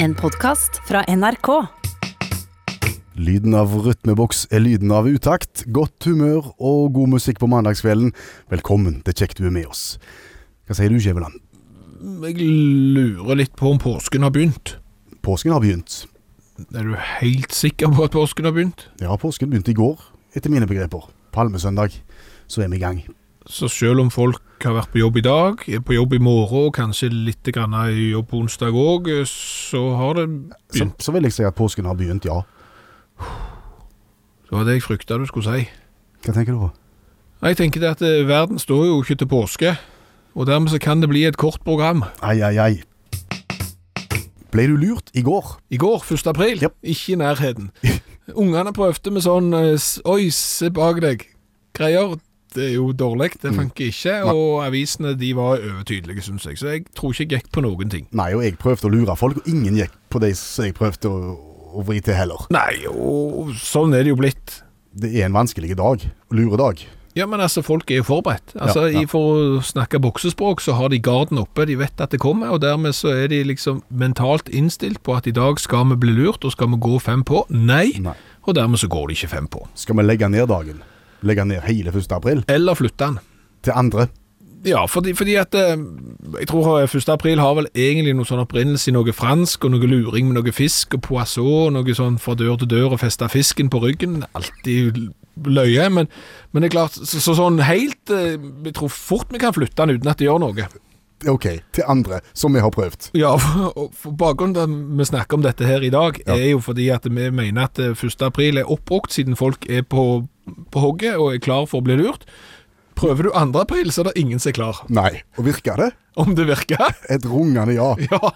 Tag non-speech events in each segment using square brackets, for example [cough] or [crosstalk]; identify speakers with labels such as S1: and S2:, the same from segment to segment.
S1: En podkast fra NRK.
S2: Lyden av rytmeboks er lyden av utakt, godt humør og god musikk på mandagskvelden. Velkommen til Kjekt du er med oss. Hva sier du, Skjæveland?
S3: Jeg lurer litt på om påsken har begynt.
S2: Påsken har begynt.
S3: Er du helt sikker på at påsken har begynt?
S2: Ja, påsken begynte i går, etter mine begreper. Palmesøndag, så er vi i gang.
S3: Så selv om folk har vært på jobb i dag, er på jobb i morgen og kanskje litt grann i jobb på onsdag òg, så har det
S2: Så,
S3: begynt.
S2: så vil jeg si at påsken har begynt, ja.
S3: Det var det jeg frykta du skulle si.
S2: Hva tenker du på?
S3: Nei, Jeg tenker det at eh, verden står jo ikke til påske, og dermed så kan det bli et kort program.
S2: Ai, ai, ai. Ble du lurt i går?
S3: I går, 1. april,
S2: Japp.
S3: ikke i nærheten. [laughs] Ungene prøvde med sånn eh, s- Oi, se bak deg. Greier. Det er jo dårlig, det funker ikke. Og avisene de var overtydelige, syns jeg. Så jeg tror ikke jeg gikk på noen ting.
S2: Nei, og jeg prøvde å lure folk, og ingen gikk på de som jeg prøvde å, å vri til heller.
S3: Nei, og sånn er det jo blitt.
S2: Det er en vanskelig dag. Luredag.
S3: Ja, men altså, folk er jo forberedt. Altså,
S2: Ja, ja.
S3: i- For å snakke boksespråk, så har de garden oppe, de vet at det kommer, og dermed så er de liksom mentalt innstilt på at i dag skal vi bli lurt, og skal vi gå fem på? Nei.
S2: Nei.
S3: Og dermed så går de ikke fem på.
S2: Skal vi legge ned dagen? Legge ned hele 1. april?
S3: Eller flytte den.
S2: Til andre?
S3: Ja, fordi, fordi at eh, Jeg tror eh, 1. april har vel egentlig noe sånn opprinnelse i noe fransk, og noe luring med noe fisk, og poisson, og noe sånn fra dør til dør og feste fisken på ryggen. Alltid løye, men, men det er klart, så, så sånn helt eh, Jeg tror fort vi kan flytte den uten at det gjør noe.
S2: Ok, til andre, som vi har prøvd.
S3: Ja, for, og for bakgrunnen til at vi snakker om dette her i dag,
S2: Ja.
S3: er jo fordi at vi mener at eh, 1. april er oppbrukt, siden folk er på, på hogget og er klar for å bli lurt. Prøver du 2. april, så er det ingen som er klar.
S2: Nei. Og virker det?
S3: Om det virker.
S2: Et rungende ja.
S3: [laughs] Ja,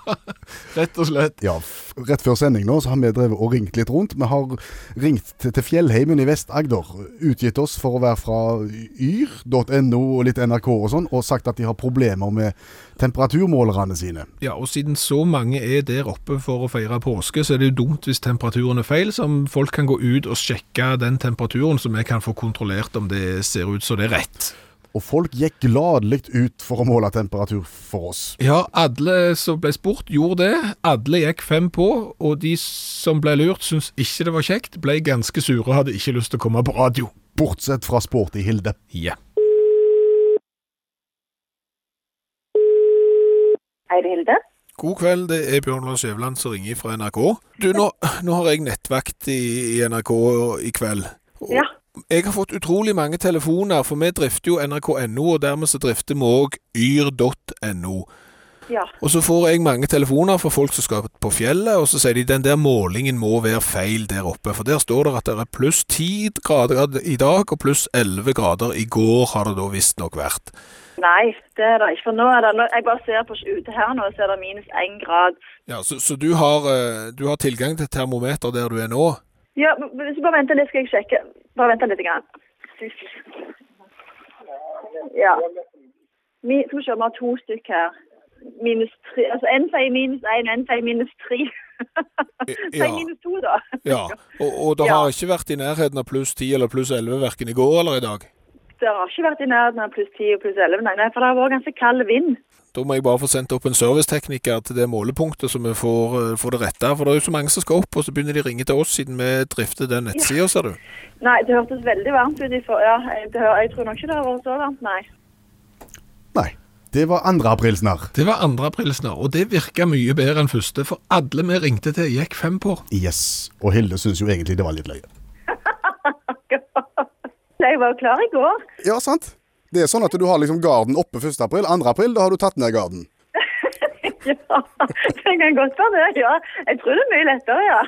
S3: rett og slett.
S2: Ja, f- Rett før sending nå så har vi drevet og ringt litt rundt. Vi har ringt til, til Fjellheimen i Vest-Agder. Utgitt oss for å være fra yr.no og litt NRK og sånn, og sagt at de har problemer med temperaturmålerne sine.
S3: Ja, og siden så mange er der oppe for å feire påske, så er det jo dumt hvis temperaturen er feil, som folk kan gå ut og sjekke den temperaturen som vi kan få kontrollert om det ser ut som det er rett.
S2: Og folk gikk gladelig ut for å måle temperatur for oss.
S3: Ja, alle som ble spurt gjorde det. Alle gikk fem på, og de som ble lurt syntes ikke det var kjekt, ble ganske sure og hadde ikke lyst til å komme på radio.
S2: Bortsett fra Sporty Hilde.
S3: Ja.
S4: Hei, det er Hilde.
S3: God kveld, det er Bjørn Lars Skjæveland som ringer fra NRK. Du, nå, nå har jeg nettvakt i, i NRK i kveld. Og
S4: Ja.
S3: Jeg har fått utrolig mange telefoner, for vi drifter jo nrk.no, og dermed så drifter vi òg yr.no.
S4: Ja.
S3: Og så får jeg mange telefoner fra folk som skal på fjellet, og så sier de den der målingen må være feil der oppe, for der står det at det er pluss 10 grader i dag, og pluss 11 grader i går har det da visstnok vært.
S4: Nei, det er det ikke. For nå er det, nå- jeg bare ser på ute her nå, så er det minus én grad.
S3: Ja, Så, så du, har, eh, du har tilgang til termometer der du er nå?
S4: Ja, men hvis du bare venter litt, skal jeg sjekke. Bare vent litt. Grann. Fy f- Ja. Mi, skal vi se, vi har to stykk her. Minus tre. Altså én sier minus én, og én sier minus tre.
S3: Ja.
S4: Sier minus to, da.
S3: Ja, og, og det
S4: Ja.
S3: har ikke vært i nærheten av pluss 10 eller pluss 11 verken i går eller i dag.
S4: Det har ikke vært i nærheten av pluss ti og pluss elleve, nei, nei, for det har vært ganske kald vind.
S3: Da må jeg bare få sendt opp en servicetekniker til det målepunktet, så vi får, eh, får det rette. For det er jo så mange som skal opp, og så begynner de å ringe til oss siden vi drifter den nettsida, ser du.
S4: Nei, det hørtes veldig varmt ut i for... Ja, jeg, det, hø- jeg tror nok ikke det har vært så varmt, nei.
S2: Nei. Det var 2. aprilsnarr.
S3: Det var 2. aprilsnarr, og det virka mye bedre enn første, for alle vi ringte til, gikk fem på.
S2: Yes. Og Hilde syns jo egentlig det var litt løye.
S4: [laughs] Så jeg var jo klar i går. [laughs]
S2: Ja, sant. Det er sånn at du har liksom garden oppe 1. april. 2. april, da har du tatt ned garden.
S4: Ja, det kan godt være det, ja. Jeg tror det er mye lettere, ja.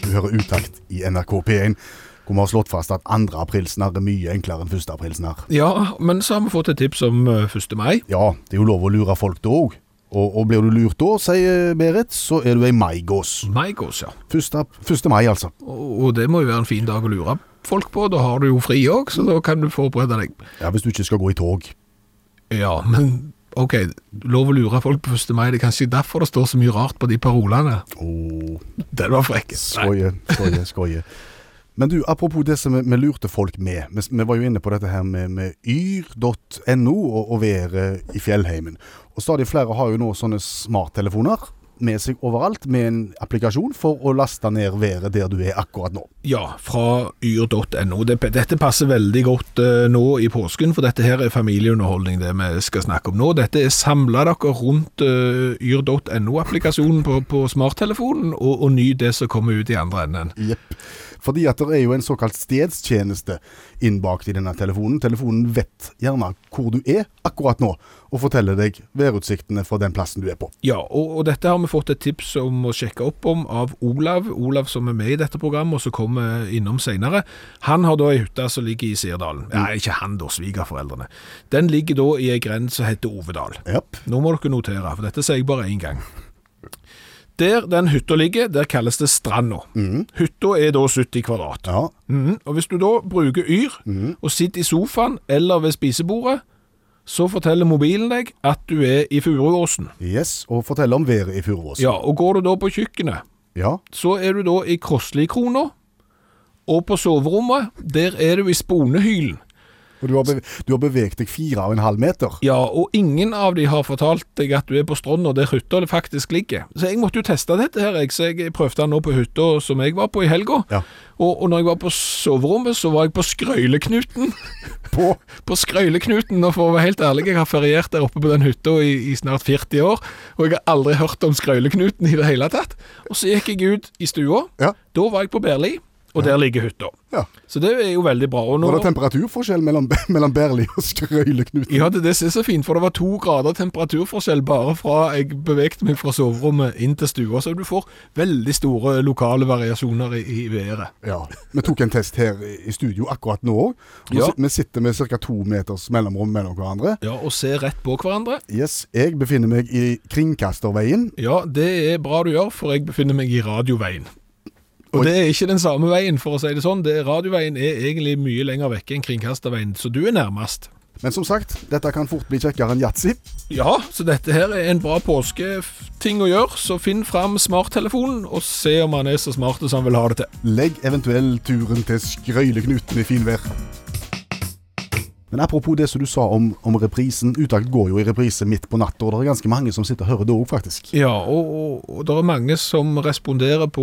S2: Du hører utakt i NRK P1, hvor vi har slått fast at 2. aprilsnarr er mye enklere enn 1. aprilsnarr.
S3: Ja, men så har vi fått et tips om eh, 1. mai.
S2: Ja, det er jo lov å lure folk da òg. Og, og blir du lurt da, sier Berit, så er du ei maigås.
S3: Maigås, ja.
S2: 1. ap- 1. mai, altså.
S3: Og, og det må jo være en fin dag å lure folk på. Da har du jo fri òg, så da kan du forberede deg.
S2: Ja, Hvis du ikke skal gå i tog.
S3: Ja, men ok, lov å lure folk på 1. mai. Det er kanskje derfor det står så mye rart på de parolene.
S2: Åh,
S3: Den var frekk. Nei.
S2: skoje, skoje, skoje. Men du, apropos det som vi, vi lurte folk med. Vi, vi var jo inne på dette her med, med yr.no og, og været i fjellheimen. Og stadig flere har jo nå sånne smarttelefoner med seg overalt med en applikasjon for å laste ned været der du er akkurat nå.
S3: Ja, fra yr.no. Det- Dette passer veldig godt eh, nå i påsken, for dette her er familieunderholdning det vi skal snakke om nå. Dette er samla dere rundt eh, yr.no-applikasjonen på, på smarttelefonen, og, og ny det som kommer ut i andre enden.
S2: Jepp. Fordi at det er jo en såkalt stedstjeneste innbakt i denne telefonen. Telefonen vet gjerne hvor du er akkurat nå, og forteller deg værutsiktene fra den plassen du er på.
S3: Ja, og, og dette har vi fått et tips om å sjekke opp om av Olav. Olav som er med i dette programmet, og som kommer innom senere. Han har da ei hytte som ligger i Sirdalen. Nei, ikke han da, svigerforeldrene. Den ligger da i ei grend som heter Ovedal.
S2: Jepp.
S3: Nå må dere notere, for dette sier jeg bare én gang. Der den hytta ligger, der kalles det Stranda. Hytta er da 70 kvadrat.
S2: Ja.
S3: Mhm, Og hvis du da bruker Yr, og sitter i sofaen eller ved spisebordet, så forteller mobilen deg at du er i Furuåsen.
S2: Yes, og fortell om været i Furuås.
S3: Ja, og går du da på kjøkkenet,
S2: Ja.
S3: så er du da i Krosslikrona, og på soverommet, der er du i Sponehylen.
S2: Og du har, beve du har beveget deg fire og en halv meter.
S3: Ja, og ingen av de har fortalt deg at du er på stranda der hytta faktisk ligger. Så jeg måtte jo teste dette her, jeg, så jeg prøvde den nå på hytta som jeg var på i helga.
S2: Ja.
S3: Og, og når jeg var på soverommet, så var jeg på Skrøyleknuten. [laughs]
S2: På
S3: På Skrøyleknuten, og for å være helt ærlig, jeg har feriert der oppe på den hytta i, i snart 40 år, og jeg har aldri hørt om Skrøyleknuten i det hele tatt. Og så gikk jeg ut i stua,
S2: Ja.
S3: da var jeg på Berli, og der ligger hytta.
S2: ja.
S3: Så det er jo veldig bra. Og nå,
S2: Var det temperaturforskjell mellom, [laughs] mellom Berli og Skrøyleknuten?
S3: Ja, det, det er så fint, for det var to grader temperaturforskjell bare fra jeg bevegte meg fra soverommet inn til stua, så du får veldig store lokale variasjoner i, i været.
S2: Ja. Vi tok en test her i i studio akkurat nå òg.
S3: Ja.
S2: Vi sitter med ca. to meters mellomrom mellom hverandre.
S3: Ja, og se rett på hverandre.
S2: Yes, jeg befinner meg i Kringkasterveien.
S3: Ja, det er bra du gjør, for jeg befinner meg i radioveien. Og det er ikke den samme veien, for å si det sånn. Det, radioveien er egentlig mye lenger vekke enn kringkasterveien, så du er nærmest.
S2: Men som sagt, dette kan fort bli kjekkere enn yatzy.
S3: Ja, så dette her er en bra påsketing å gjøre, så finn fram smarttelefonen og se om han er så smart som han vil ha det til.
S2: Legg eventuell turen til Skrøyleknuten i finvær. Men apropos det som du sa om, om reprisen. Utakt går jo i reprise midt på natta, og det er ganske mange som sitter og hører det òg, faktisk.
S3: Ja, og, og, og det er mange som responderer på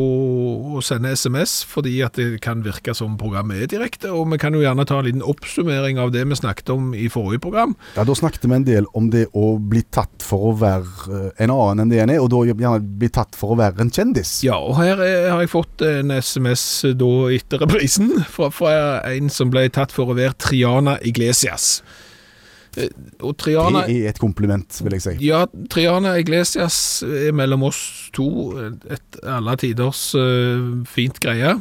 S3: å sende SMS, fordi at det kan virke som programmet er direkte. Og vi kan jo gjerne ta en liten oppsummering av det vi snakket om i forrige program.
S2: Ja, Da snakket vi en del om det å bli tatt for å være eh, en annen enn det en er, og da gjerne bli tatt for å være en kjendis.
S3: Ja, og her er, har jeg fått en SMS da etter reprisen fra, fra en som ble tatt for å være Triana Iglesias. Eh, Og Triana
S2: Det er et kompliment, vil jeg si.
S3: Ja, Triana Iglesias er mellom oss to eh, et alle tiders eh, fint greie,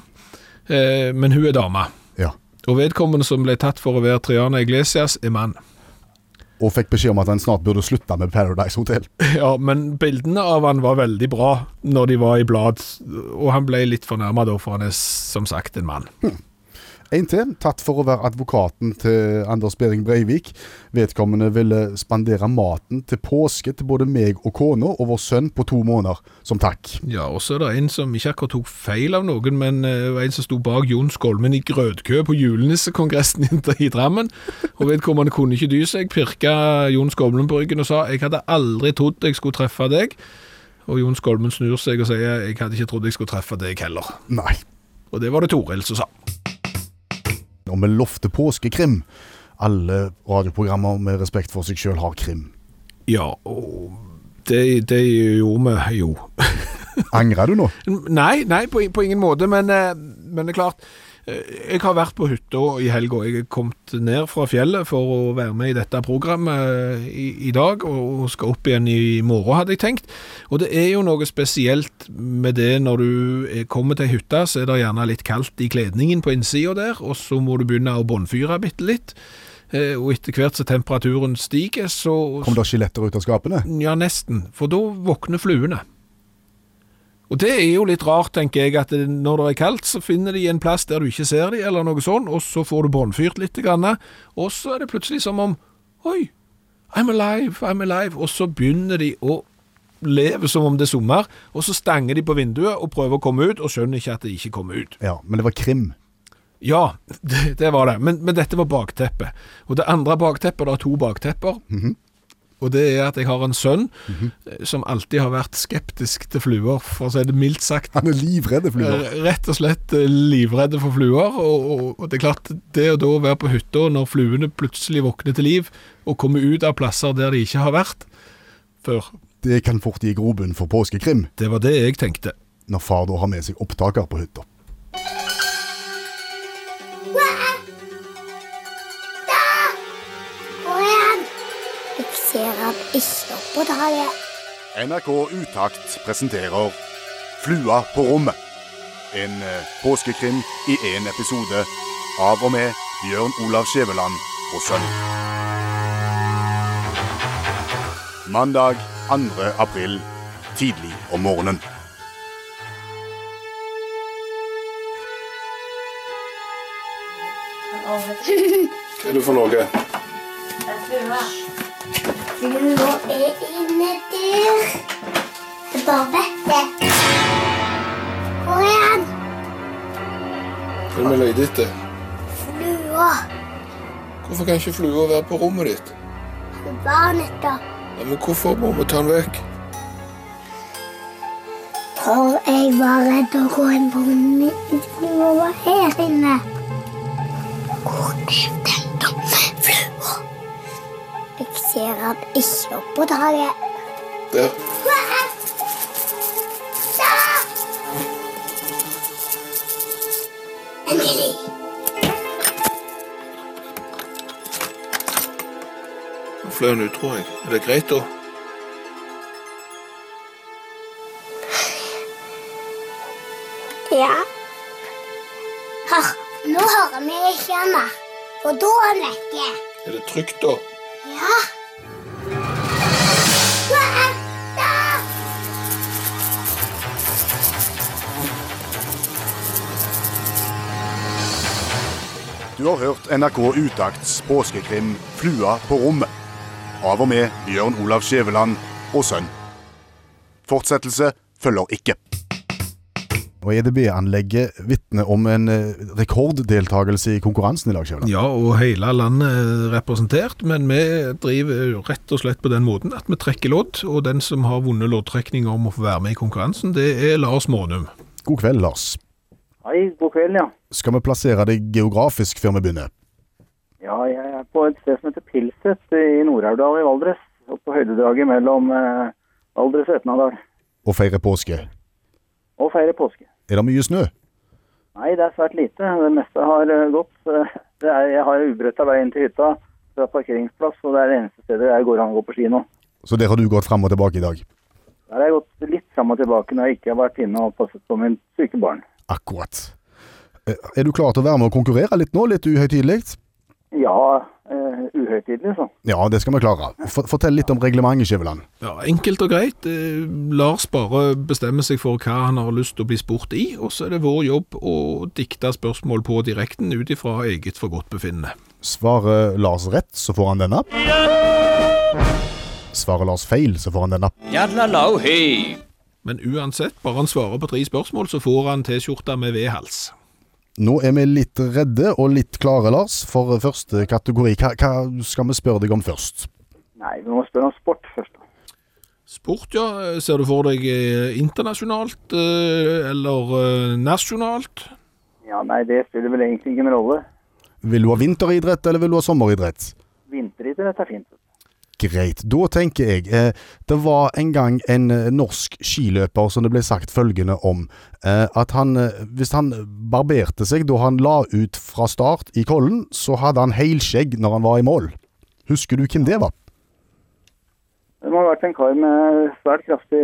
S3: Eh, men hun er dame.
S2: Ja.
S3: Og vedkommende som ble tatt for å være Triana Iglesias, er mann. [laughs]
S2: Og fikk beskjed om at en snart burde slutte med Paradise Hotel.
S3: Ja, men bildene av han var veldig bra når de var i blad, og han ble litt fornærma da, for han er som sagt en mann.
S2: En til, tatt for å være advokaten til Anders Behring Breivik. Vedkommende ville spandere maten til påske til både meg og kona og vår sønn på to måneder, som takk.
S3: Ja, og så er det en som ikke akkurat tok feil av noen, men eh, var en som sto bak Jon Skolmen i grøtkø på julenissekongressen i Drammen, og vedkommende kunne ikke dy seg, pirka Jon Skolmen på ryggen og sa 'jeg hadde aldri trodd jeg skulle treffe deg', og Jon Skolmen snur seg og sier 'jeg hadde ikke trodd jeg skulle treffe deg heller',
S2: Nei.
S3: og det var det Toril som sa.
S2: Og vi lovte påskekrim. Alle radioprogrammer med respekt for seg sjøl har krim.
S3: Ja, og det, det gjorde vi jo.
S2: Angrer du nå?
S3: Nei, nei på, på ingen måte, men, eh, men det er klart eh, Jeg har vært på hytta i helga. Jeg er kommet ned fra fjellet for å være med i dette programmet eh, i, i dag, og, og skal opp igjen i morgen, hadde jeg tenkt. Og det er jo noe spesielt med det når du eh, kommer til ei hytte, så er det gjerne litt kaldt i kledningen på innsida der, og så må du begynne å båndfyre bitte litt. Eh, Og etter hvert som temperaturen stiger, så
S2: Kom det skjeletter ut av skapene?
S3: ja, nesten. For da våkner fluene. Og det er jo litt rart, tenker jeg, at når det er kaldt, så finner de en plass der du ikke ser de, eller noe sånt, og så får du båndfyrt litt, grann, og så er det plutselig som om Oi, I'm alive, I'm alive. Og så begynner de å leve som om det er sommer, og så stanger de på vinduet og prøver å komme ut, og skjønner ikke at de ikke kommer ut.
S2: Ja, men det var krim.
S3: Ja, [laughs] det, det var det. Men, men dette var bakteppet. Og det andre bakteppet, det er to baktepper. Og det er at jeg har en sønn eh, som alltid har vært skeptisk til fluer, for å si det mildt sagt.
S2: [laughs] Han er livredde fluer.
S3: Eh, Rett og slett eh, livredde for fluer. Og, og, og det er klart, det å da være på hytta når fluene plutselig våkner til liv, og kommer ut av plasser der de ikke har vært før,
S2: Det kan fort gi grobunn for påskekrim,
S3: det var det jeg tenkte.
S2: når far da har med seg opptaker på hytta.
S5: Kom igjen! Jeg ser at ikke oppå der jeg
S2: NRK Utakt presenterer Flua på rommet. En eh, påskekrim i én episode av og med Bjørn Olav Skjæveland og sønn. Mandag 2. april tidlig om morgenen.
S6: Hva er det for noe?
S5: Flua er inne der. Det er bare vettet. Kom igjen!
S6: Hva er det vi leter etter?
S5: Flua.
S6: Hvorfor kan ikke flua være på rommet ditt?
S5: Hun var nettopp.
S6: Ja, men hvorfor må vi ta den vekk?
S5: For jeg var redd å gå inn på min flua var her inne. Hvor er den dumme flua? Jeg ser at ikke oppå der jeg
S6: Der.
S5: Endelig.
S6: Nå fløy den ut, tror jeg. Er det greit, da?
S5: Ja. Hør, nå hører vi ikke han da. For da er han vekke.
S6: Er det trygt, da?
S5: Ja. Hva er det?
S2: Du har hørt NRK Utakts påskekrim 'Flua på rommet'. Av og med Bjørn Olav Skjæveland og sønn. Fortsettelse følger ikke. Og EDB-anlegget vitner om en eh, rekorddeltakelse i konkurransen i dag, Skjæveland.
S3: Ja, og hele landet er representert, men vi driver jo rett og slett på den måten at vi trekker lodd, og den som har vunnet loddtrekning om å få være med i konkurransen, det er Lars Månum.
S2: God kveld, Lars.
S7: Hei, god kveld, ja.
S2: Skal vi plassere deg geografisk før vi begynner?
S7: Ja, jeg er på et sted som heter Pilset i Nord-Aurdal i Valdres. Oppe på høydedraget mellom eh, Valdres og Etnadal.
S2: Og feire påske.
S7: Og feire påske.
S2: Er det mye snø?
S7: Nei, det er svært lite. Det meste har eh, gått. så [laughs] Det er, jeg har ubrøtta vei inn til hytta fra parkeringsplass, og det er det eneste stedet jeg går an å gå på ski nå.
S2: Så der har du gått fram og tilbake i dag?
S7: Der har jeg gått litt fram og tilbake når jeg ikke har vært inne og passet på min syke barn.
S2: Akkurat. Eh, Er du klar til å være med og konkurrere litt nå, litt uhøytidelig?
S7: Ja, eh, uhøytidelig, så.
S2: Ja, det skal vi klare. For- Fortell litt om reglementet, Skjæveland.
S3: Ja, enkelt og greit. Eh, Lars bare bestemmer seg for hva han har lyst til å bli spurt i, og så er det vår jobb å dikte spørsmål på direkten ut ifra eget forgodtbefinnende.
S2: Svarer Lars rett, så får han denne. Svarer Lars feil, så får han denne.
S8: Yalla la hei!
S3: Men uansett, bare han svarer på tre spørsmål, så får han T-skjorta med V-hals.
S2: Nå er vi litt redde og litt klare, Lars, for første kategori. Hva, hva skal vi spørre deg om først?
S7: Nei, vi må spørre om sport først. da.
S3: Sport, ja. Ser du for deg eh, internasjonalt eh, eller eh, nasjonalt?
S7: Ja, nei, det spiller vel egentlig ingen rolle.
S2: Vil du ha vinteridrett, eller vil du ha sommeridrett?
S7: Vinteridrett er fint.
S2: Greit. Da tenker jeg eh, Det var en gang en eh, norsk skiløper som det ble sagt følgende om. Eh, at han, eh, hvis han barberte seg da han la ut fra start i Kollen, så hadde han helskjegg når han var i mål. Husker du hvem det var?
S7: Det må ha vært en kar med svært kraftig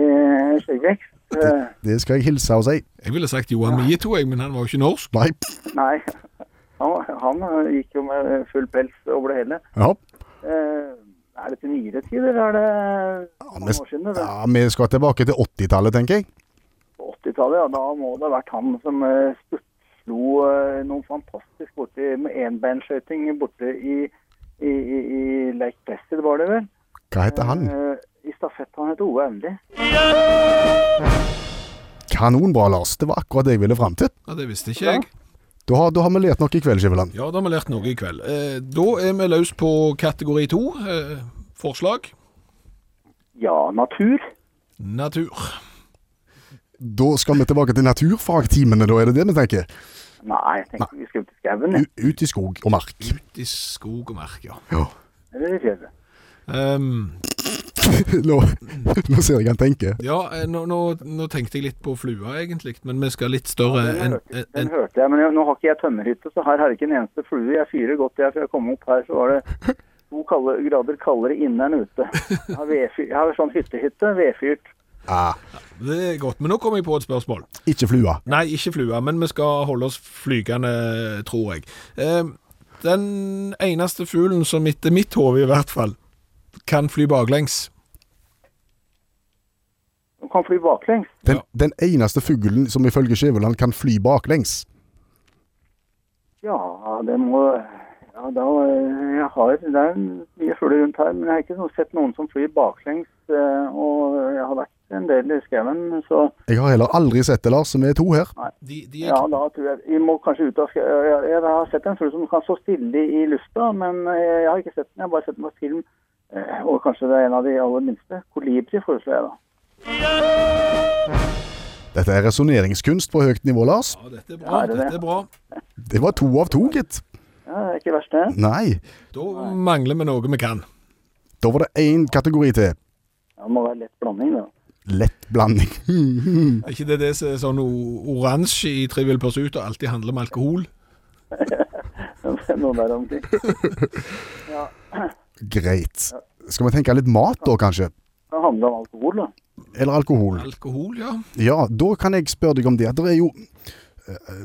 S7: skjeggvekst. Eh,
S2: Det skal jeg hilse og si.
S3: Jeg ville sagt Johan Mieto, jeg, men han var jo ikke norsk.
S2: Nei.
S7: Nei, han, han gikk jo med full pels over det hele.
S2: Ja.
S7: Eh, Er det til nyere tid, eller er det mange
S2: vi-
S7: år siden? det?
S2: ja, vi skal tilbake til 80-tallet, tenker jeg.
S7: På 80-tallet, ja. Da må det ha vært han som eh, spurtslo eh, noe fantastisk borti med enbeinskøyting borte i, i, i, i Lake Placid, var det vel?
S2: Hva heter han?
S7: Eh, I stafett. Han het Ove Auli.
S2: Kanonbra, Lars. Det var akkurat det jeg ville fram til.
S3: Ja, Det visste ikke jeg.
S2: Da har, da har vi lært nok i kveld, Skiveland.
S3: Ja, da har vi lært noe i kveld. Eh, da er vi løs på kategori to. Eh, forslag.
S7: Ja, natur.
S3: Natur.
S2: Da skal vi tilbake til naturfagtimene, da er det det vi tenker?
S7: Nei, jeg tenkte vi skulle ut i skauen. jeg.
S2: U ut i skog og mark.
S3: Ut i skog og mark, ja.
S2: Ja.
S7: Eller i fjellet.
S3: Ehm,
S2: [laughs] Nå, nå ser jeg han tenker.
S3: ja, eh, nå, nå, nå tenkte jeg litt på flua, egentlig, men vi skal litt større
S7: Den
S3: enn
S7: hørte, den
S3: enn-
S7: hørte jeg, men jeg, nå har ikke jeg tømmerhytte, så her har jeg ikke en eneste flue. Jeg fyrer godt, jeg, for jeg kom opp her, så var det to kalde, grader kaldere inne enn ute. Jeg har, vedfyr, jeg har sånn hyttehytte, vedfyrt.
S2: Ah,
S3: Det er godt, men nå kom jeg på et spørsmål.
S2: ikke flua.
S3: Nei, ikke flua, men vi skal holde oss flygende, tror jeg. Ehm, Den eneste fuglen som etter mitt hode i hvert fall kan fly baklengs.
S7: Den kan fly baklengs.
S2: Den,
S3: Ja.
S2: den eneste fuglen som ifølge Skjæveland kan fly baklengs.
S7: Ja, det må... Ja, da, eh, jeg har, det er mye fugler rundt her, men jeg har ikke noe- sett noen som flyr baklengs, eh, og jeg har vært en del i skauen, så
S2: Jeg har heller aldri sett det, Lars, så vi er to her.
S3: De, de er
S7: ja, da tror jeg vi må kanskje ut av skauen. Jeg, jeg har sett en fugl som kan stå stille i lufta, men eh, jeg har ikke sett den. Jeg har bare sett den på film, Eh, og kanskje det er en av de aller minste. Kolibri foreslår jeg, da.
S2: Dette er resoneringskunst på høyt nivå, Lars.
S3: Ja, dette er bra.
S7: Ja, det er det.
S3: Dette er bra.
S2: Det var to av to, gitt.
S7: Ja, det er ikke verst, det.
S2: Nei,
S3: Da mangler vi noe vi kan.
S2: da var det én kategori til.
S7: Ja, det må være lett blanding, da. [laughs]
S2: Lett blanding. [laughs]
S7: Mm.
S3: Er ikke det det som er sånn o- oransje i Trivial Pursuit og alltid handler om alkohol?
S7: Noe der omkring.
S2: Greit. Skal vi tenke litt mat da, kanskje?
S7: Det handler om alkohol, da.
S2: Eller alkohol?
S3: Alkohol, ja.
S2: Ja, da kan jeg spørre deg om det. Det er jo, eh,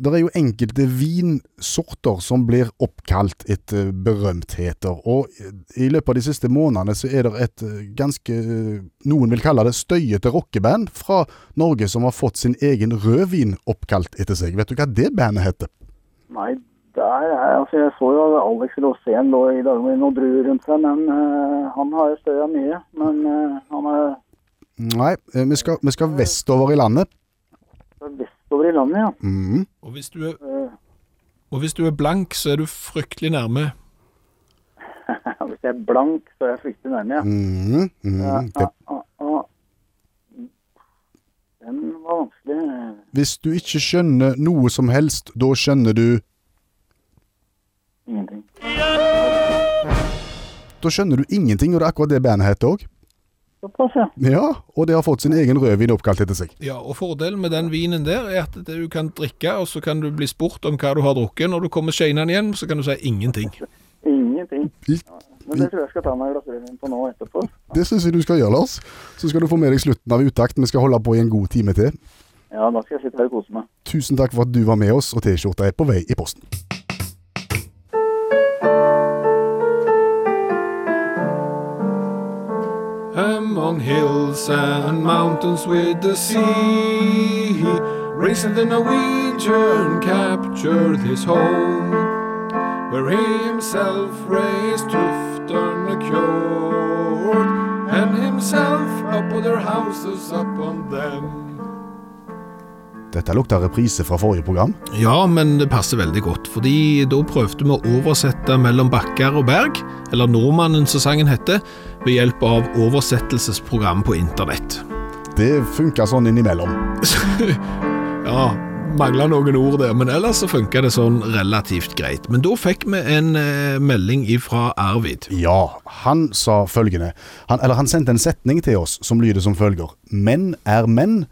S2: det er jo enkelte vinsorter som blir oppkalt etter berømtheter. Og i løpet av de siste månedene så er det et eh, ganske, noen vil kalle det støyete rockeband fra Norge som har fått sin egen rødvin oppkalt etter seg. Vet du hva det bandet heter?
S7: Nei, der er altså, Jeg så jo at Alex Rosén lå i dag med noen druer rundt seg, men eh, han har jo støya mye. Men eh, han er
S2: Nei, eh, vi skal, vi skal vestover i landet.
S7: vestover i landet, ja. [laughs]
S2: Mhm.
S3: Og hvis du er,
S7: Eh,
S3: og hvis du er blank, så er du fryktelig nærme.
S7: Hvis jeg er blank, så er jeg fryktelig nærme, ja.
S2: Mhm.
S7: Ja,
S2: Mhm. Det,
S7: ja, ja, ja. Den var vanskelig. eh,
S2: hvis du ikke skjønner noe som helst, da skjønner du
S7: Ingenting.
S2: Da skjønner du ingenting, og det er akkurat det bandet heter òg.
S7: Såpass, ja.
S2: Ja, og det har fått sin egen rødvin oppkalt etter seg.
S3: Ja, og fordelen med den vinen der er at det du kan drikke, og så kan du bli spurt om hva du har drukket. Når du kommer seinere hjem, så kan du si ingenting.
S7: Ingenting.
S2: I-
S7: Men det tror jeg jeg skal ta meg et glass rødvin på nå etterpå.
S2: Det syns jeg du skal gjøre, Lars. Så skal du få med deg slutten av utakt. Vi skal holde på i en god time til.
S7: Ja, da skal jeg sitte her og kose meg.
S2: Tusen takk for at du var med oss, og T-skjorta er på vei i posten.
S3: Among hills and mountains with the sea, racing the Norwegian captured his home, where he himself raised tuft on a fjord, and himself up on their houses upon them.
S2: Dette lukter reprise fra forrige program.
S3: Ja, men det passer veldig godt, fordi da prøvde vi å oversette mellom bakker og berg, eller nordmannen som sangen heter, ved hjelp av oversettelsesprogram på internett.
S2: Det funka sånn innimellom.
S3: Ja, mangla noen ord der, men ellers så funka det sånn relativt greit. Men da fikk vi en eh, melding ifra Arvid.
S2: Ja, han sa følgende han, Eller han sendte en setning til oss som lyder som følger. Menn er menn,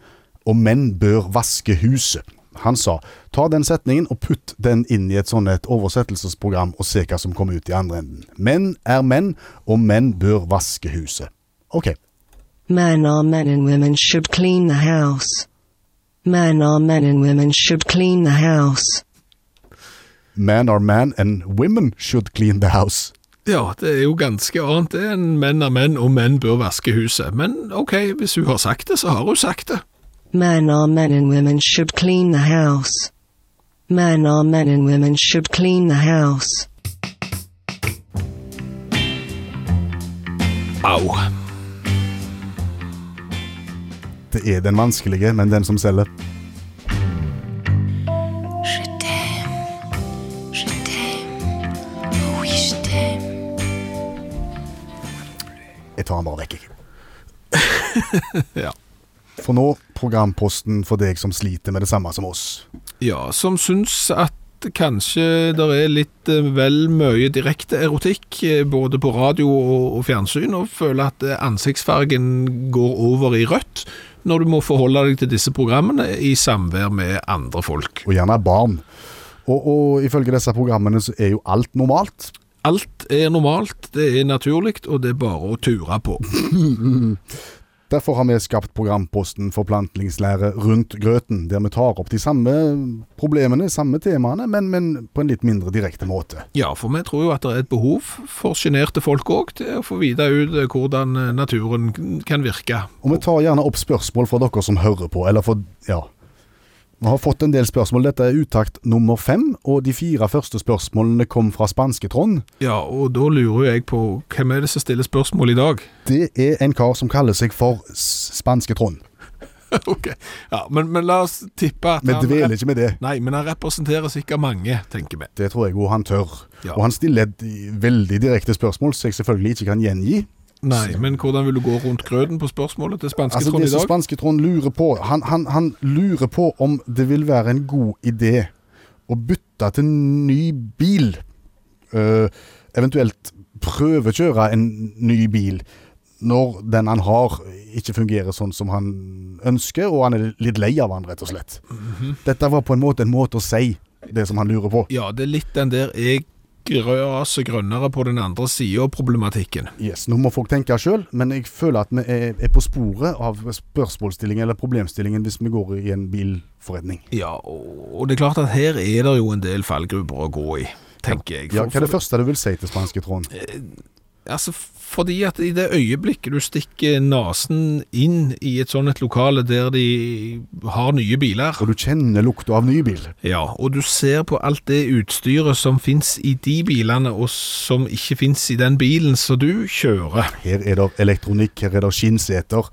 S2: og menn bør vaske huset. Han sa ta den setningen og putt den inn i et sånn et oversettelsesprogram og se hva som kommer ut i andre enden. Menn er menn, og menn bør vaske huset. Ok,
S8: Men are men and women should clean the house. Men are men and women should clean the house.
S2: man are man and women should clean the house.
S3: Ja, det er jo ganske annet det enn menn er menn, og menn bør vaske huset. Men ok, hvis hun har sagt det, så har hun sagt det.
S8: Men are men and women should clean the house. Men are men and women should clean the house.
S3: Au.
S2: Det er den vanskelige, men den som selger. Jeg tar den bare vekk, jeg. For nå programposten for deg som sliter med det samme som oss.
S3: Ja, som syns at kanskje det er litt eh, vel mye direkte erotikk, eh, både på radio og, og fjernsyn, og føler at eh, ansiktsfargen går over i rødt når du må forholde deg til disse programmene i samvær med andre folk.
S2: Og gjerne barn. Og, og ifølge disse programmene så er jo alt normalt.
S3: Alt er normalt, det er naturlig, og det er bare å ture på.
S2: Derfor har vi skapt programposten Forplantningslære rundt grøten, der vi tar opp de samme problemene, samme temaene, men, men på en litt mindre direkte måte.
S3: Ja, for vi tror jo at det er et behov for sjenerte folk òg, til å få vite ut eh, hvordan eh, naturen kan virke.
S2: Og vi tar gjerne opp spørsmål fra dere som hører på, eller for ja. Vi har fått en del spørsmål. Dette er uttakt nummer fem, og de fire første spørsmålene kom fra spanske Trond.
S3: Ja, og da lurer jo jeg på hvem er det som stiller spørsmål i dag? [laughs]
S2: Det er en kar som kaller seg for S- spanske Trond.
S3: Ok, ja, men, men la oss tippe at
S2: Vi
S3: han-
S2: dveler ikke med det.
S3: Nei, men han representerer sikkert mange, tenker vi.
S2: Det tror jeg òg han tør.
S3: Ja.
S2: Og han stiller et eh, veldig direkte spørsmål som jeg selvfølgelig ikke kan gjengi.
S3: Nei, men hvordan vil du gå rundt grøten på spørsmålet til spanske
S2: Altså
S3: Trond
S2: Det
S3: i
S2: som
S3: dag?
S2: spanske Trond lurer på han, han, han lurer på om det vil være en god idé å bytte til ny bil. Eh, eventuelt prøvekjøre en ny bil når den han har ikke fungerer sånn som han ønsker, og han er litt lei av han, rett og slett.
S3: Mhm.
S2: Dette var på en måte en måte å si det som han lurer på.
S3: Ja, det er litt den der jeg raser grønnere på den andre sida av problematikken.
S2: Yes, Nå må folk tenke sjøl, men jeg føler at vi er, er på sporet av spørsmålsstillingen eller problemstillingen hvis vi går i en bilforretning.
S3: Ja, og og det er klart at her er det jo en del fallgrupper å gå i, tenker jeg.
S2: Ja,
S3: For-
S2: hva er det
S3: for-
S2: første du vil si til spanske Trond?
S3: Altså, fordi at i det øyeblikket du stikker nesen inn i et sånt et lokale der de har nye biler
S2: Og du kjenner lukta av ny bil.
S3: Ja, og du ser på alt det utstyret som finnes i de bilene, og som ikke finnes i den bilen som du kjører.
S2: Her er det elektronikk, her er det skinnseter,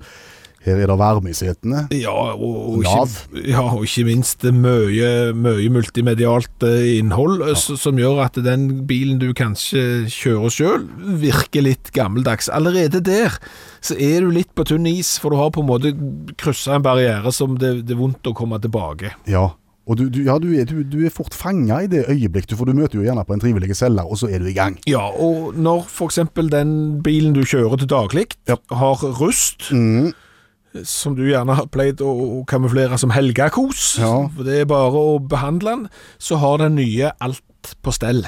S2: her er det varme i setene.
S3: Ja, og, og,
S2: Nav.
S3: ikke, ja, og ikke minst det mye, mye multimedialt eh, innhold eh, s- som gjør at den bilen du kanskje kjører sjøl, virker litt gammeldags. Allerede der så er du litt på tynn is, for du har på en måte kryssa en barriere som det, det er vondt å komme tilbake.
S2: Ja, og du, du, ja, du, er, du, du er fort fanga i det øyeblikk, du, for du møter jo gjerne på en trivelig selger, og så er du i gang.
S3: Ja, og når for eksempel den bilen du kjører til daglig
S2: Ja.
S3: har rust,
S2: Mm.
S3: som du gjerne har pleid å å kamuflere som helgekos,
S2: Ja.
S3: for det er bare å behandle den, så har den nye alt på stell.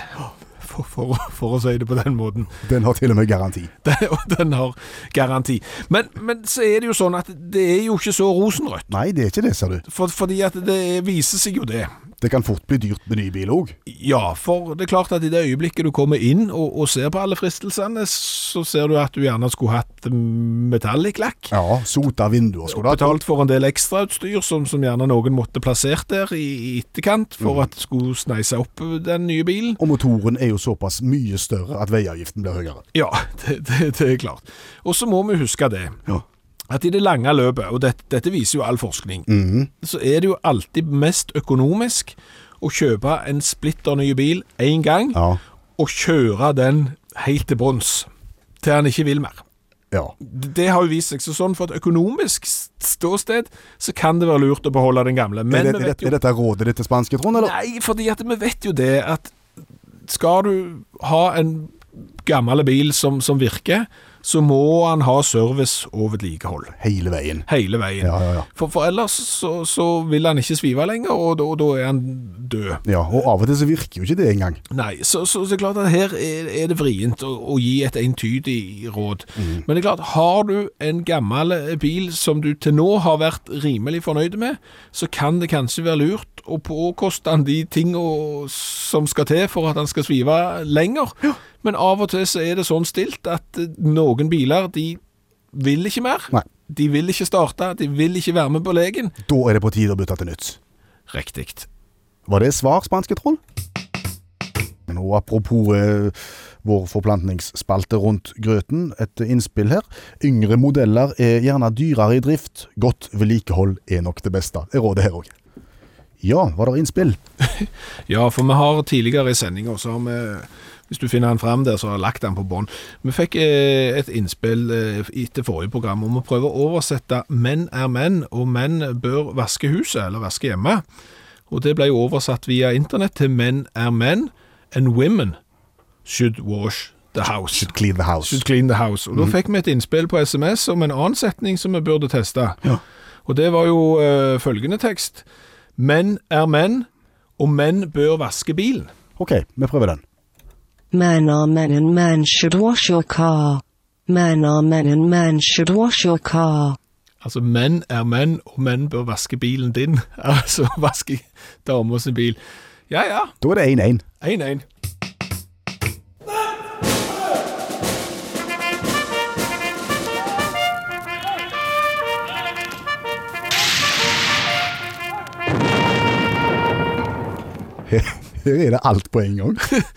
S3: For, for, for å si det på den måten. [laughs]
S2: Den har til og med garanti.
S3: Det, og den har garanti. Men, men så er det jo sånn at det er jo ikke så rosenrødt.
S2: Nei, det er ikke det, ser du.
S3: For, fordi at det viser seg jo det.
S2: Det kan fort bli dyrt med ny bil òg.
S3: Ja, for det er klart at i det øyeblikket du kommer inn og, og ser på alle fristelsene, så ser du at du gjerne skulle hatt metallic lakk.
S2: Ja, sota vinduer skulle du ha.
S3: Betalt for en del ekstrautstyr som, som gjerne noen måtte plassert der i, i etterkant for at det skulle sneise opp den nye bilen.
S2: Og motoren er jo såpass mye større at veiavgiften blir høyere.
S3: Ja, [laughs] det, det, det er klart. Og så må vi huske det.
S2: Ja.
S3: At i det lange løpet, og dette, dette viser jo all forskning,
S2: Mm.
S3: så er det jo alltid mest økonomisk å kjøpe en splitter ny bil én gang,
S2: Ja.
S3: og kjøre den helt til bunns, til han ikke vil mer.
S2: Ja.
S3: D- Det har jo vist seg så sånn, for et økonomisk s- ståsted så kan det være lurt å beholde den gamle. Men
S2: er, det,
S3: vi
S2: er,
S3: vet
S2: det,
S3: jo
S2: er dette rådet ditt til spanske, Trond? Eller?
S3: Nei, fordi at vi vet jo det at skal du ha en gammel bil som, som virker, så må han ha service og vedlikehold
S2: Hele veien.
S3: hele veien.
S2: Ja, ja, ja.
S3: For, for ellers så, så vil han ikke svive lenger, og da, og da er han død.
S2: Ja, og av og til så virker jo ikke det engang.
S3: Nei, så, så det er klart at her er, er det vrient å, å gi et entydig råd. Men det er klart, har du en gammel eh, bil som du til nå har vært rimelig fornøyd med, så kan det kanskje være lurt å påkoste han de tingene som skal til for at han skal svive lenger. Men av og til så er det sånn stilt at eh, noen biler, de vil ikke mer.
S2: Nei.
S3: De vil ikke starte, de vil ikke være med på legen.
S2: Da er det på tide å bytte til nytt.
S3: Riktig.
S2: Var det svar, spanske troll? Nå, apropos eh, vår forplantningsspalte rundt grøten, et innspill her. Yngre modeller er gjerne dyrere i drift. Godt vedlikehold er nok det beste. Er rådet her òg. Ja, var det innspill?
S3: Ja, for vi har tidligere i sendinga, så har vi Hvis du finner den fram der, så har jeg lagt den på bånd. Vi fikk eh, et innspill eh, etter forrige program om å prøve å oversette 'menn er menn', og 'menn bør vaske huset', eller vaske hjemme. Og det ble jo oversatt via internett til 'menn er menn', and 'women should wash the house'.
S2: Should clean the house.
S3: Should clean the house. Og da fikk vi et innspill på SMS om en annen setning som vi burde teste.
S2: Ja.
S3: Og det var jo eh, følgende tekst. Menn er menn, og menn bør vaske bilen.
S2: OK, vi prøver den.
S8: Men are men and men should wash your car. Men are men and men should wash your car.
S3: Altså, menn er menn, og menn bør vaske bilen din. [laughs] Altså, vaske damer sin bil. Ja, ja.
S2: Da er det 1-1.
S3: 1-1.
S2: [laughs] Her er det alt på en gang. [laughs]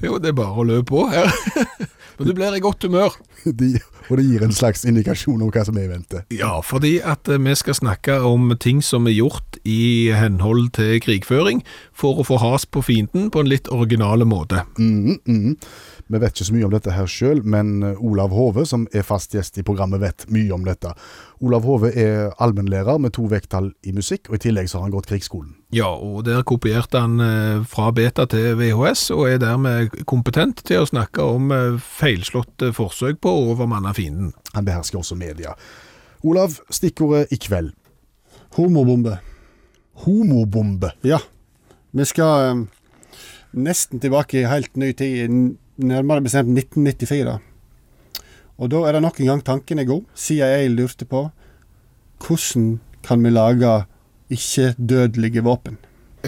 S3: Jo, det er bare å løpe på her. [laughs] Men du blir i godt humør.
S2: De, og det gir en slags indikasjon om hva som er i vente.
S3: Ja, fordi at eh, vi skal snakke om ting som er gjort i henhold til krigføring, for å få has på fienden på en litt originale måte.
S2: Mhm, mhm. Vi vet ikke så mye om dette her sjøl, men eh, Olav Hove, som er fast gjest i programmet, vet mye om dette. Olav Hove er allmennlærer med to vekttall i musikk, og i tillegg så har han gått krigsskolen.
S3: Ja, og der kopierte han eh, fra beta til VHS, og er dermed kompetent til å snakke om eh, feilslåtte forsøk på å overmanne fienden.
S2: Han behersker også media. Olav, stikkordet i kveld.
S9: Homobombe.
S2: Homobombe.
S9: Ja. Vi skal eh, nesten tilbake i helt ny tid, n- nærmere bestemt 1994. Og da er det nok en gang tanken er god. CIA lurte på hvordan kan vi lage ikke-dødelige våpen.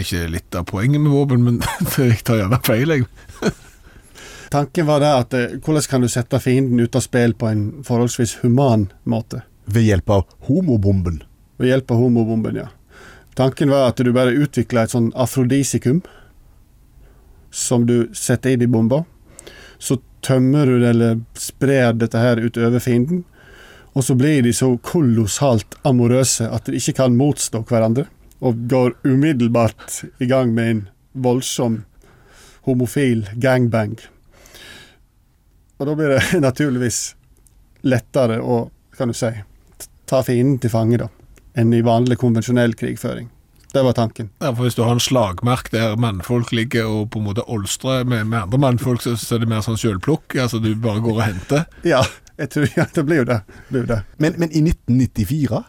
S3: Ikke litt av poenget med våpen, men [laughs] jeg tar gjerne feil, jeg.
S9: Tanken var det at eh, hvordan kan du sette fienden ut av spill på en forholdsvis human måte?
S2: Ved hjelp av homobomben.
S9: Ved hjelp av homobomben, ja. Tanken var at du bare utvikla et sånn afrodisikum som du setter inn i bomba. Så tømmer du det, eller sprer dette her utover fienden. Og så blir de så kolossalt amorøse at de ikke kan motstå hverandre. Og går umiddelbart i gang med en voldsom homofil gangbang. Og da blir det [laughs] naturligvis lettere å, kan du si, t- ta fienden til fange, da enn i vanlig konvensjonell krigføring. Det var tanken.
S3: Ja, for Hvis du har en slagmark der mannfolk ligger og på en måte olstrer med, med andre mannfolk, så, så er det mer sånn sjølplukk. Altså, du bare går og henter.
S9: Ja, jeg tror ja, det blir jo det. Det blir jo det.
S2: Men, men i 1994?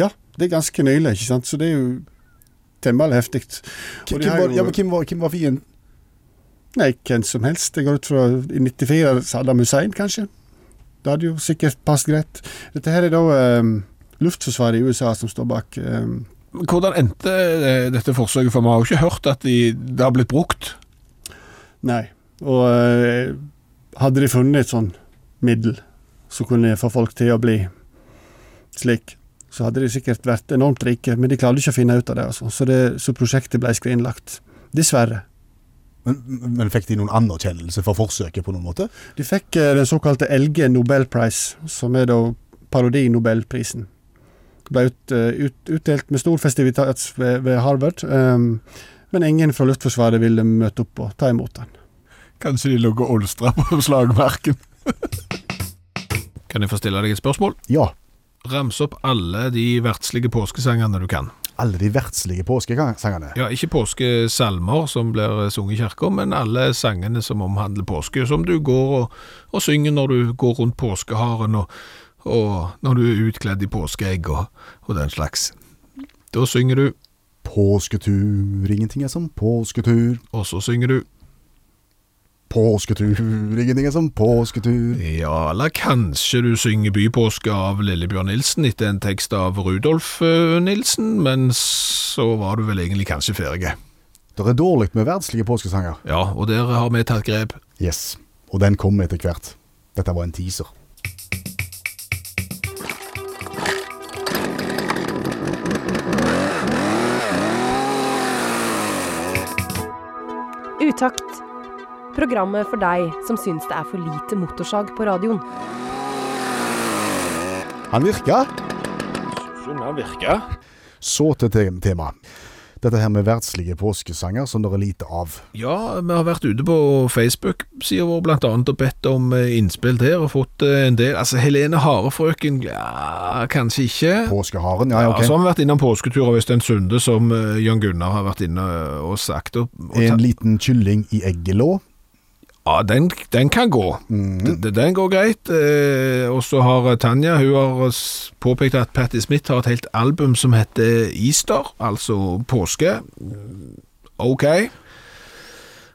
S9: Ja, det er ganske nylig, ikke sant? Så det er jo temmelig heftig.
S2: Hvem var, ja, men hvem var, hvem var fienden?
S9: Nei, hvem som helst. Jeg går ut fra i 94 Saddam Hussein, kanskje. Det hadde jo sikkert passet greit. Dette her er da eh, Luftforsvaret i USA som står bak. eh,
S3: Hvordan endte eh, dette forsøket? For vi har jo ikke hørt at de, det har blitt brukt.
S9: nei. Og eh, hadde de funnet et sånn middel som kunne få folk til å bli slik, så hadde de sikkert vært enormt rike, men de klarte ikke å finne ut av det, altså. så, det så prosjektet ble skrinlagt. Dessverre.
S2: Men, men fikk de noen anerkjennelse for forsøket på noen måte?
S9: De fikk eh, den såkalte LG Nobel Prize, som er da parodi-nobelprisen. Ble ut, eh, ut, utdelt med stor festivitet ved, ved Harvard, ehm, men ingen fra Luftforsvaret ville møte opp og ta imot den.
S3: Kanskje de lå og olstra på slagmarken. kan jeg få stille deg et spørsmål?
S2: Ja.
S3: Rams opp alle de verdslige påskesangene du kan.
S2: Alle de verdslige påskesangene.
S3: Ja, ikke påskesalmer som blir sunget i kirka, men alle sangene som omhandler påske, som du går og, og synger når du går rundt påskeharen, og, og når du er utkledd i påskeegg og, og den slags. Da synger du,
S2: Påsketur, ingenting er som påsketur.
S3: og så synger du
S2: Påsketur, ingenting er som påsketur.
S3: Ja, eller kanskje du synger Bypåske av Lillebjørn Nilsen etter en tekst av Rudolf eh, Nilsen, men så var du vel egentlig kanskje ferdig.
S2: Det er dårlig med verdslige påskesanger.
S3: Ja, og der har vi tatt grep.
S2: Yes. Og den kom etter hvert. Dette var en teaser.
S10: Utakt. Programmet for deg som syns det er for lite motorsag på radioen.
S2: Han virka.
S3: Sunna virka.
S2: Så til te- temaet. dette her med verdslige påskesanger som det er lite av.
S3: Ja, vi har vært ute på Facebook-sida vår blant annet og bedt om eh, innspill der, og fått eh, en del. Altså, Helene Harefrøken, ja, kanskje ikke.
S2: Påskeharen, ja, ja,
S3: Ja,
S2: ok.
S3: så har vi vært innom påsketur av Øystein Sunde, som eh, Jan Gunnar har vært inne eh, og sagt. Og, og
S2: En liten kylling i eggelå.
S3: Ja, den, den kan gå. D- d- Den går greit. Eh, og så har Tanja hun har s- påpekt at Patti Smith har et helt album som heter Easter, altså påske. Mm, Ok.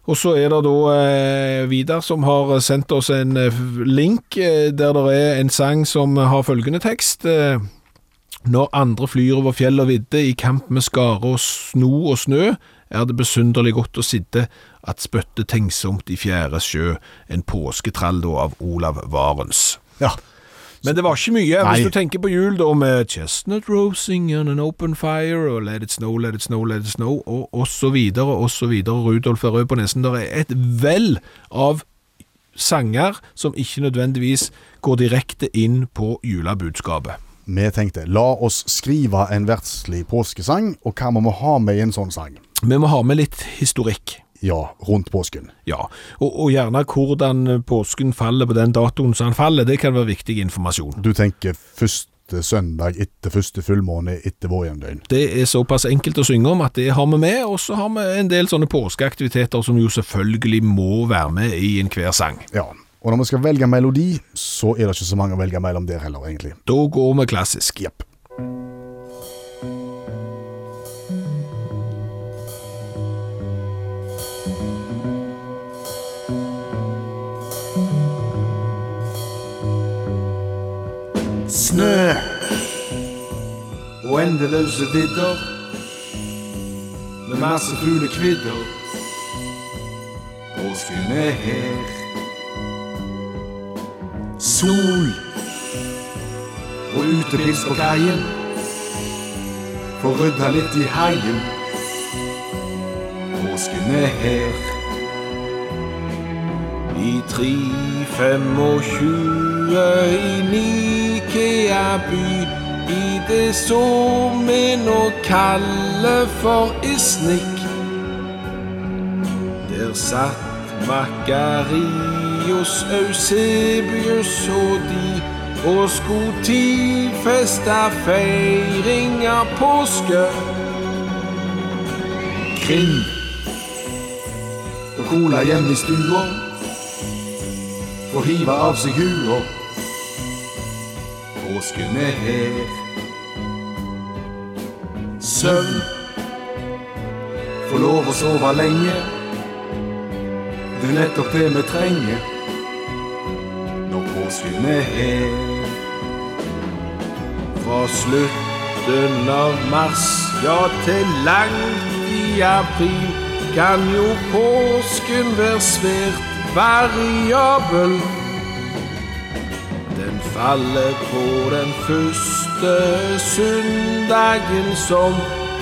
S3: Og så er det da eh, Vidar som har sendt oss en eh, link eh, der det er en sang som har følgende tekst. Eh, når andre flyr over fjell og vidde, i kamp med skare og sno og snø, er det besynderlig godt å sitte, at spøtte tenksomt i fjære sjø, en påsketrall da av Olav Varens.
S2: Ja.
S3: Men det var ikke mye.
S2: Nei.
S3: Hvis du tenker på jul da med Chestnut Rosing and an Open Fire og Let It Snow, Let It Snow, Let It Snow og og så videre og så videre. Rudolf er rød på nesen. Det er et vell av sanger som ikke nødvendigvis går direkte inn på julebudskapet.
S2: Vi tenkte la oss skrive en verdslig påskesang, og hva må vi ha med i en sånn sang?
S3: Vi må ha med litt historikk.
S2: Ja, rundt påsken.
S3: Ja, og, og gjerne hvordan påsken faller på den datoen som den faller, det kan være viktig informasjon.
S2: Du tenker første søndag etter første fullmåne etter vårjevndøgn.
S3: Det er såpass enkelt å synge om at det har vi med, og så har vi en del sånne påskeaktiviteter som jo selvfølgelig må være med i enhver sang.
S2: Ja. Og når vi skal velge melodi, så er det ikke så mange å velge mellom der heller, egentlig.
S3: Da går vi klassisk.
S2: Jepp.
S11: Snø og endeløse vidder med masse fuglekvidder. Påsken er her. Sol og utepils på kaien. Få rydda litt i haien. Påsken er her.
S6: I tre, fem og tjue i Nikea-by, i det som vi nå kaller for Isnik.
S11: Der satt Makarios Eusebius og de og skulle tidfeste feiring av påske. Krim og cola hjemme i stua og hive av seg hua. Påsken er her. Søvn får lov å sove lenge. Det er nettopp det vi trenger når påsken er her.
S6: Fra slutten av mars, ja til langt i april, kan jo påsken være svært variabel. Den faller på den første søndagen som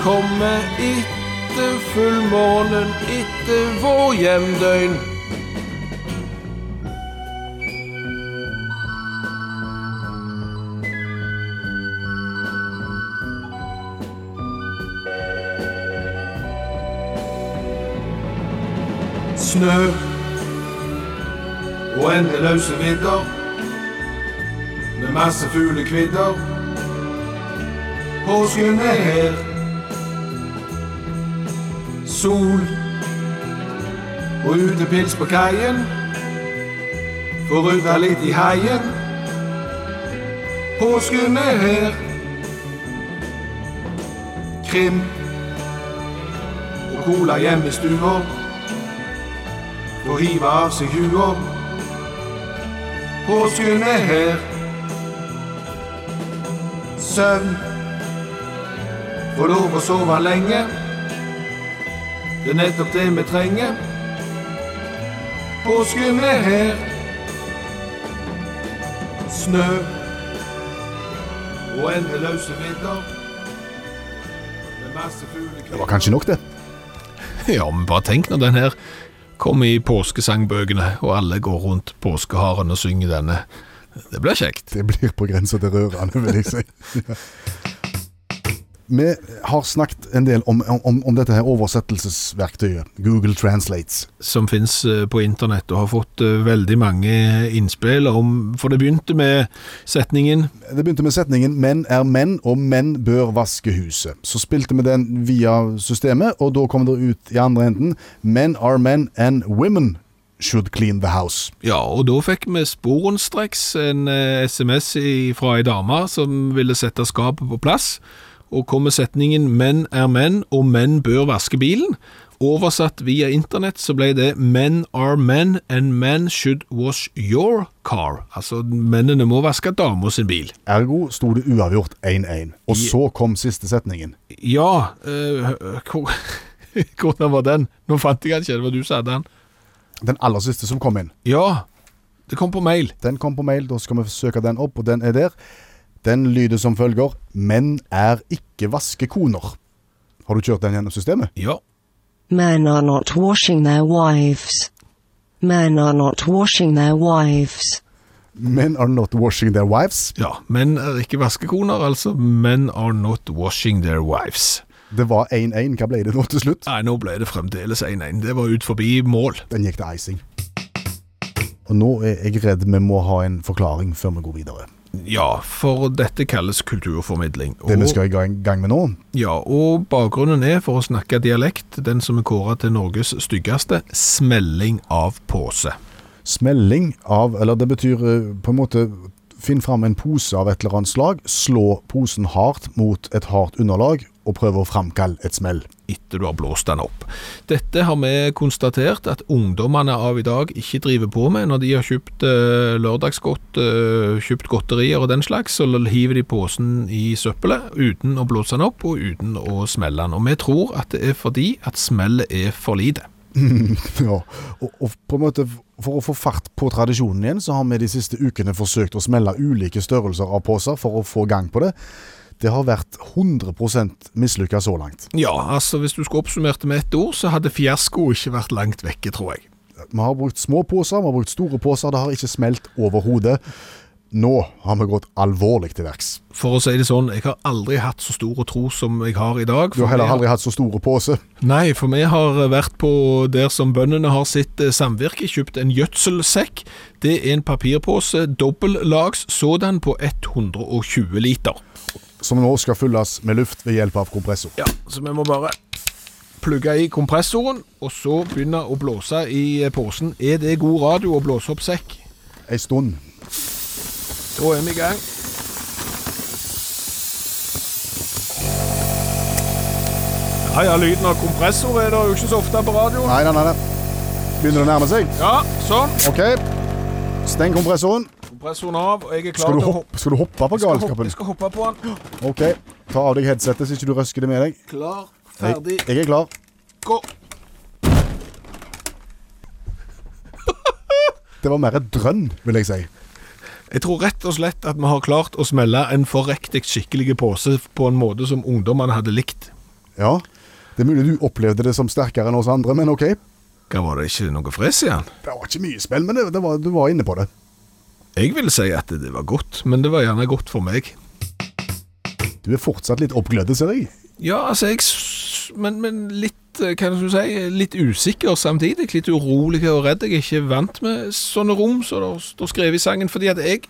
S6: kommer etter fullmånen, etter vår hjemdøgn.
S11: Snø og endeløse vidder med masse fuglekvidder. Påsken er her. Sol og utepils på kaien. Få rydda litt i haien. Påsken er her. Krim og cola hjemme i stua og hive av seg hua. Påsken er her. Søvn. Få lov å sove lenge. Det er nettopp det vi trenger. Påsken er her. Snø og endeløse vidder. Med masse fuglekvitter.
S2: Det var kanskje nok, det.
S3: Ja, men bare tenk når den her kommer i påskesangbøkene, og alle går rundt påskeharen og synger denne. Det blir kjekt.
S2: Det blir på grensa til rørende, vil jeg si. [laughs] Vi har snakket en del om, om, om dette her oversettelsesverktøyet, Google Translates.
S3: Som finnes eh, på internett og har fått eh, veldig mange innspill om For det begynte med setningen
S2: Det begynte med setningen 'menn er menn, og menn bør vaske huset'. Så spilte vi den via systemet, og da kom det ut i andre enden 'men are men and women should clean the house'.
S3: Ja, og da fikk vi sporenstreks en eh, SMS i, fra ei dame som ville sette skapet på plass, og kom med setningen 'menn er menn, og menn bør vaske bilen'. Oversatt via internett så ble det 'men are men, and men should wash your car'. Altså, mennene må vaske dama sin bil.
S2: Ergo sto det uavgjort 1-1. Og så kom siste setningen.
S3: Ja, eh, hvor- [laughs] hvordan var den? Nå fant jeg den ikke, det var du som hadde den.
S2: Den aller siste som kom inn.
S3: Ja, det kom på mail.
S2: Den kom på mail, da skal vi søke den opp, og den er der. Den lyder som følger 'Menn er ikke vaskekoner'. Har du kjørt den gjennom systemet?
S3: Ja.
S8: Men are not washing their wives. Men are not washing their wives.
S2: Men are not washing their wives.
S3: Ja, menn er ikke vaskekoner, altså men are not washing their wives.
S2: Det var 1-1. Hva ble det nå til slutt?
S3: Nei, nå ble det fremdeles 1-1. Det var ut forbi mål.
S2: Den gikk til icing. Og nå er jeg redd vi må ha en forklaring før vi går videre.
S3: Ja, for dette kalles kulturformidling.
S2: Det vi skal i gang gang med nå,
S3: Ja, og bakgrunnen er, for å snakke dialekt, den som er kåret til Norges styggeste, smelling av pose.
S2: smelling av Eller det betyr eh, på en måte Finn fram en pose av et eller annet slag, slå posen hardt mot et hardt underlag og prøve å framkalle et smell. [laughs]
S3: etter du har blåst den opp. Dette har vi konstatert at ungdommene av i dag ikke driver på med. Når de har kjøpt eh, lørdagsgodt, eh, kjøpt godterier og den slags, så hiver de posen i søppelet uten å blåse den opp og uten å smelle den. Og vi tror at det er fordi at smellet er for lite.
S2: ja, og, og på en måte for å få fart på tradisjonen igjen, så har vi de siste ukene forsøkt å smelle ulike størrelser av poser for å få gang på det. Det har vært 100 mislykka så langt.
S3: Ja, altså hvis du skulle oppsummert det med ett ord, så hadde fiasko ikke vært langt vekke, tror jeg.
S2: Vi har brukt små poser, vi har brukt store poser, det har ikke smelt overhodet. Nå har vi gått alvorlig til verks.
S3: For å si det sånn, jeg har aldri hatt så stor tro som jeg har i dag.
S2: Du har heller aldri hatt så store poser.
S3: Nei, for vi har vært på der som bøndene har sitt eh, samvirke, kjøpt en gjødselsekk. Det er en papirpose, dobbeltlags sådan, på 120 liter.
S2: Som nå skal fylles med luft ved hjelp av kompressor.
S3: Ja, så vi må bare plugge i kompressoren, og så begynne å blåse i eh, posen. Er det god radio å blåse opp sekk?
S2: Ei stund.
S3: Da er vi i gang. Ja, ja, lyden av kompressor er det jo ikke så ofte på radio.
S2: Nei, nei, nei. nei. Begynner det å nærme seg?
S3: Ja, sånn.
S2: OK. Steng kompressoren.
S3: Kompressoren av, og jeg er klar
S2: Skal du
S3: til å
S2: hoppe, skal du hoppe på
S3: Jeg skal hoppe-
S2: galskapen?
S3: Jeg skal hoppe på den.
S2: Ok, ta av deg headsetet så ikke du røsker det med deg.
S3: Klar,
S2: Jeg,
S3: ferdig,
S2: jeg er klar.
S3: gå!
S2: Det var mer et drønn, vil jeg si.
S3: Jeg tror rett og slett at vi har klart å smelle en forrektig skikkelig pose på en måte som ungdommene hadde likt.
S2: Ja, det er mulig du opplevde det som sterkere enn oss andre, men ok.
S3: Hva var det ikke noe fres i den?
S2: Det var ikke mye spill, men det, det var, du var inne på det.
S3: Jeg vil si at det var godt, men det var gjerne godt for meg.
S2: Du er fortsatt litt oppglødde, ser jeg.
S3: Ja, altså, jeg s- men, men litt, eh, hva skal du si, litt usikker samtidig. Litt urolig og redd. Jeg er ikke vant med sånne rom, så det står skrevet i sangen. Fordi at jeg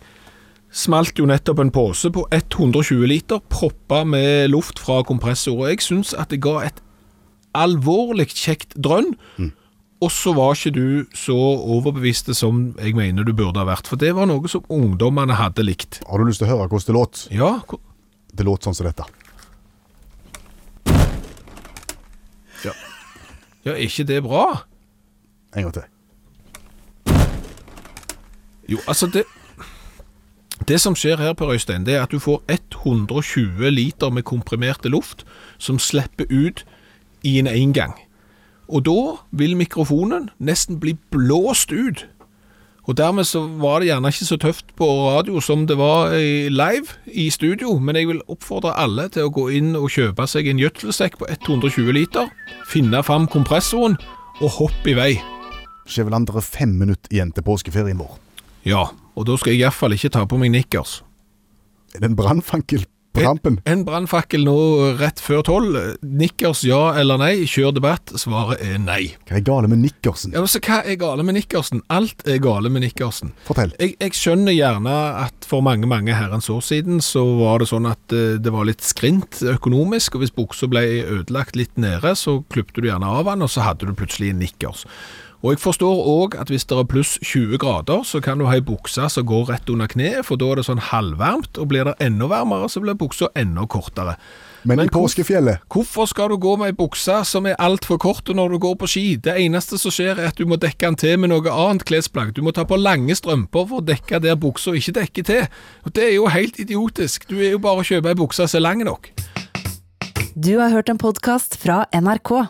S3: smalt jo nettopp en pose på 120 liter, proppa med luft fra kompressor. Og jeg syns at det ga et alvorlig kjekt drønn. Og så var ikke du så overbeviste som jeg mener du burde ha vært. For det var noe som ungdommene hadde likt.
S2: Har du lyst til å høre hvordan det låt?
S3: Ja, hvor-
S2: Det låt sånn som dette.
S3: ja er ikke det bra?
S2: En gang til.
S3: Jo, altså det Det som skjer her, Per Øystein, det er at du får 120 liter med komprimerte luft som slipper ut i en engang. Og da vil mikrofonen nesten bli blåst ut. Og dermed så var det gjerne ikke så tøft på radio som det var eh, live i studio, men jeg vil oppfordre alle til å gå inn og kjøpe seg en gjødselsekk på 120 liter, finne fram kompressoren og hoppe i vei.
S2: Ikke vel andre fem minutter igjen til påskeferien vår.
S3: Ja, og da skal jeg iallfall ikke ta på meg nikkers.
S2: Er det en brannfankel? På rampen.
S3: En brannfakkel nå rett før tolv. Nikkers ja eller nei? Kjør debatt. Svaret er nei.
S2: Hva er gale med Nikkersen?
S3: Ja, men så Hva er gale med Nikkersen? Alt er gale med Nikkersen.
S2: Fortell.
S3: Jeg, jeg skjønner gjerne at for mange mange herrens år siden så var det sånn at eh, det var litt skrint økonomisk, og hvis buksa ble ødelagt litt nede, så klipte du gjerne av den, og så hadde du plutselig en nikkers. Og jeg forstår òg at hvis det er pluss 20 grader, så kan du ha ei bukse som går rett under kneet, for da er det sånn halvvarmt, og blir det enda varmere, så blir buksa enda kortere.
S2: Men, i påskefjellet
S3: Hvorfor skal du gå med ei bukse som er altfor kort når du går på ski? Det eneste som skjer er at du må dekke den til med noe annet klesplagg. Du må ta på lange strømper for å dekke der buksa ikke dekker til. Og Det er jo helt idiotisk. Du er jo bare å kjøpe ei bukse som er lang nok.
S1: Du har hørt en podkast fra NRK.